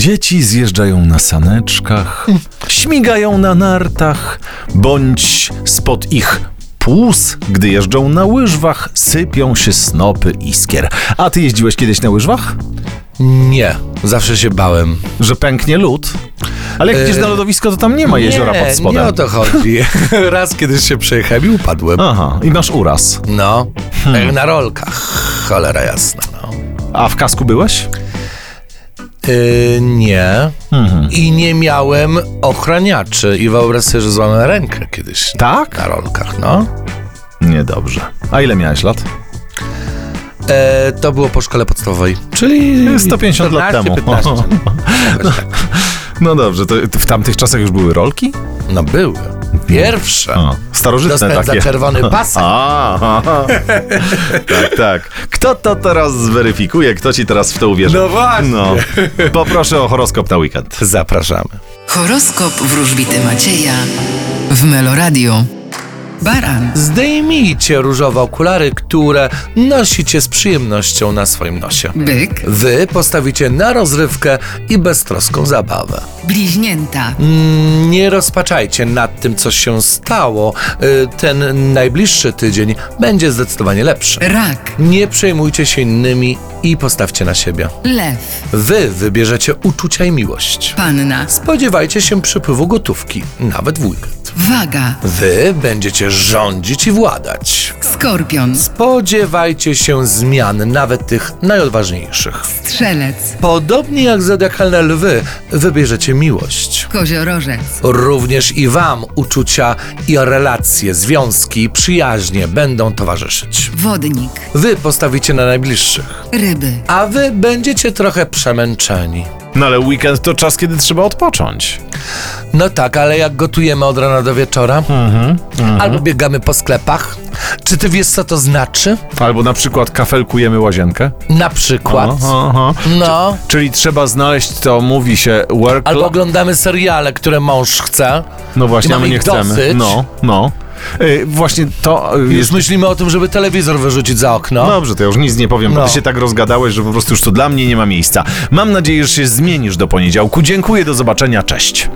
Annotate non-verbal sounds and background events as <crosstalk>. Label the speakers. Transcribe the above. Speaker 1: Dzieci zjeżdżają na saneczkach, śmigają na nartach, bądź spod ich płus, gdy jeżdżą na łyżwach, sypią się snopy iskier. A ty jeździłeś kiedyś na łyżwach?
Speaker 2: Nie, zawsze się bałem.
Speaker 1: Że pęknie lód? Ale jak
Speaker 2: E,
Speaker 1: idziesz na lodowisko, to tam nie ma jeziora
Speaker 2: nie,
Speaker 1: pod spodem.
Speaker 2: Nie o to chodzi. <laughs> Raz kiedyś się przejechałem i upadłem.
Speaker 1: Aha, i masz uraz.
Speaker 2: No,
Speaker 1: Hmm.
Speaker 2: jak na rolkach, cholera jasna. No.
Speaker 1: A w kasku byłeś?
Speaker 2: Yy, nie.
Speaker 1: Mhm.
Speaker 2: I nie miałem ochraniaczy. I wyobraź sobie, że złamałem rękę kiedyś.
Speaker 1: Tak?
Speaker 2: Na rolkach, no.
Speaker 1: Niedobrze. A ile miałeś lat?
Speaker 2: E, to było po szkole podstawowej. Czyli
Speaker 1: 150 lat
Speaker 2: 14,
Speaker 1: temu.
Speaker 2: 15.
Speaker 1: <laughs>
Speaker 2: Jakoś tak.
Speaker 1: No dobrze, to to w tamtych czasach już były rolki?
Speaker 2: No były. Pierwsze.
Speaker 1: O, starożytne
Speaker 2: Dostałem za
Speaker 1: takie. <laughs>
Speaker 2: czerwony pas.
Speaker 1: A, aha. tak, tak. Kto to teraz zweryfikuje? Kto ci teraz w to uwierzy?
Speaker 2: No właśnie.
Speaker 1: No. Poproszę o horoskop na weekend.
Speaker 2: Zapraszamy.
Speaker 3: Horoskop wróżbity Macieja w Meloradio. Baran,
Speaker 2: Zdejmijcie różowe okulary, które nosicie z przyjemnością na swoim nosie.
Speaker 3: byk,
Speaker 2: Wy postawicie na rozrywkę i beztroską zabawę.
Speaker 3: bliźnięta,
Speaker 2: Mm, Nie rozpaczajcie nad tym, co się stało. Y, Ten najbliższy tydzień będzie zdecydowanie lepszy.
Speaker 3: rak,
Speaker 2: Nie przejmujcie się innymi i postawcie na siebie.
Speaker 3: lew,
Speaker 2: Wy wybierzecie uczucia i miłość.
Speaker 3: panna,
Speaker 2: Spodziewajcie się przypływu gotówki, nawet w weekend.
Speaker 3: waga,
Speaker 2: Wy będziecie rządzić i władać.
Speaker 3: skorpion,
Speaker 2: Spodziewajcie się zmian, nawet tych najodważniejszych.
Speaker 3: strzelec,
Speaker 2: Podobnie jak zodiakalne lwy, wybierzecie miłość.
Speaker 3: koziorożec,
Speaker 2: Również i Wam uczucia i relacje, związki, przyjaźnie będą towarzyszyć.
Speaker 3: wodnik,
Speaker 2: Wy postawicie na najbliższych,
Speaker 3: ryby.
Speaker 2: a Wy będziecie trochę przemęczeni.
Speaker 1: No ale weekend to czas, kiedy trzeba odpocząć.
Speaker 2: No tak, ale jak gotujemy od rana do wieczora, albo biegamy po sklepach, czy Ty wiesz, co to znaczy?
Speaker 1: Albo na przykład kafelkujemy łazienkę.
Speaker 2: Na przykład,
Speaker 1: aha.
Speaker 2: no,
Speaker 1: Czyli trzeba znaleźć, to mówi się work
Speaker 2: albo
Speaker 1: lo-
Speaker 2: oglądamy seriale, które mąż chce.
Speaker 1: No właśnie, a my
Speaker 2: mamy
Speaker 1: nie
Speaker 2: ich
Speaker 1: chcemy.
Speaker 2: dosyć.
Speaker 1: No, no. Y, właśnie to y,
Speaker 2: Już myślimy o tym, żeby telewizor wyrzucić za okno.
Speaker 1: Dobrze, to ja już nic nie powiem, bo
Speaker 2: No.
Speaker 1: ty się tak rozgadałeś, że po prostu już to dla mnie nie ma miejsca. Mam nadzieję, że się zmienisz do poniedziałku. Dziękuję, do zobaczenia, cześć.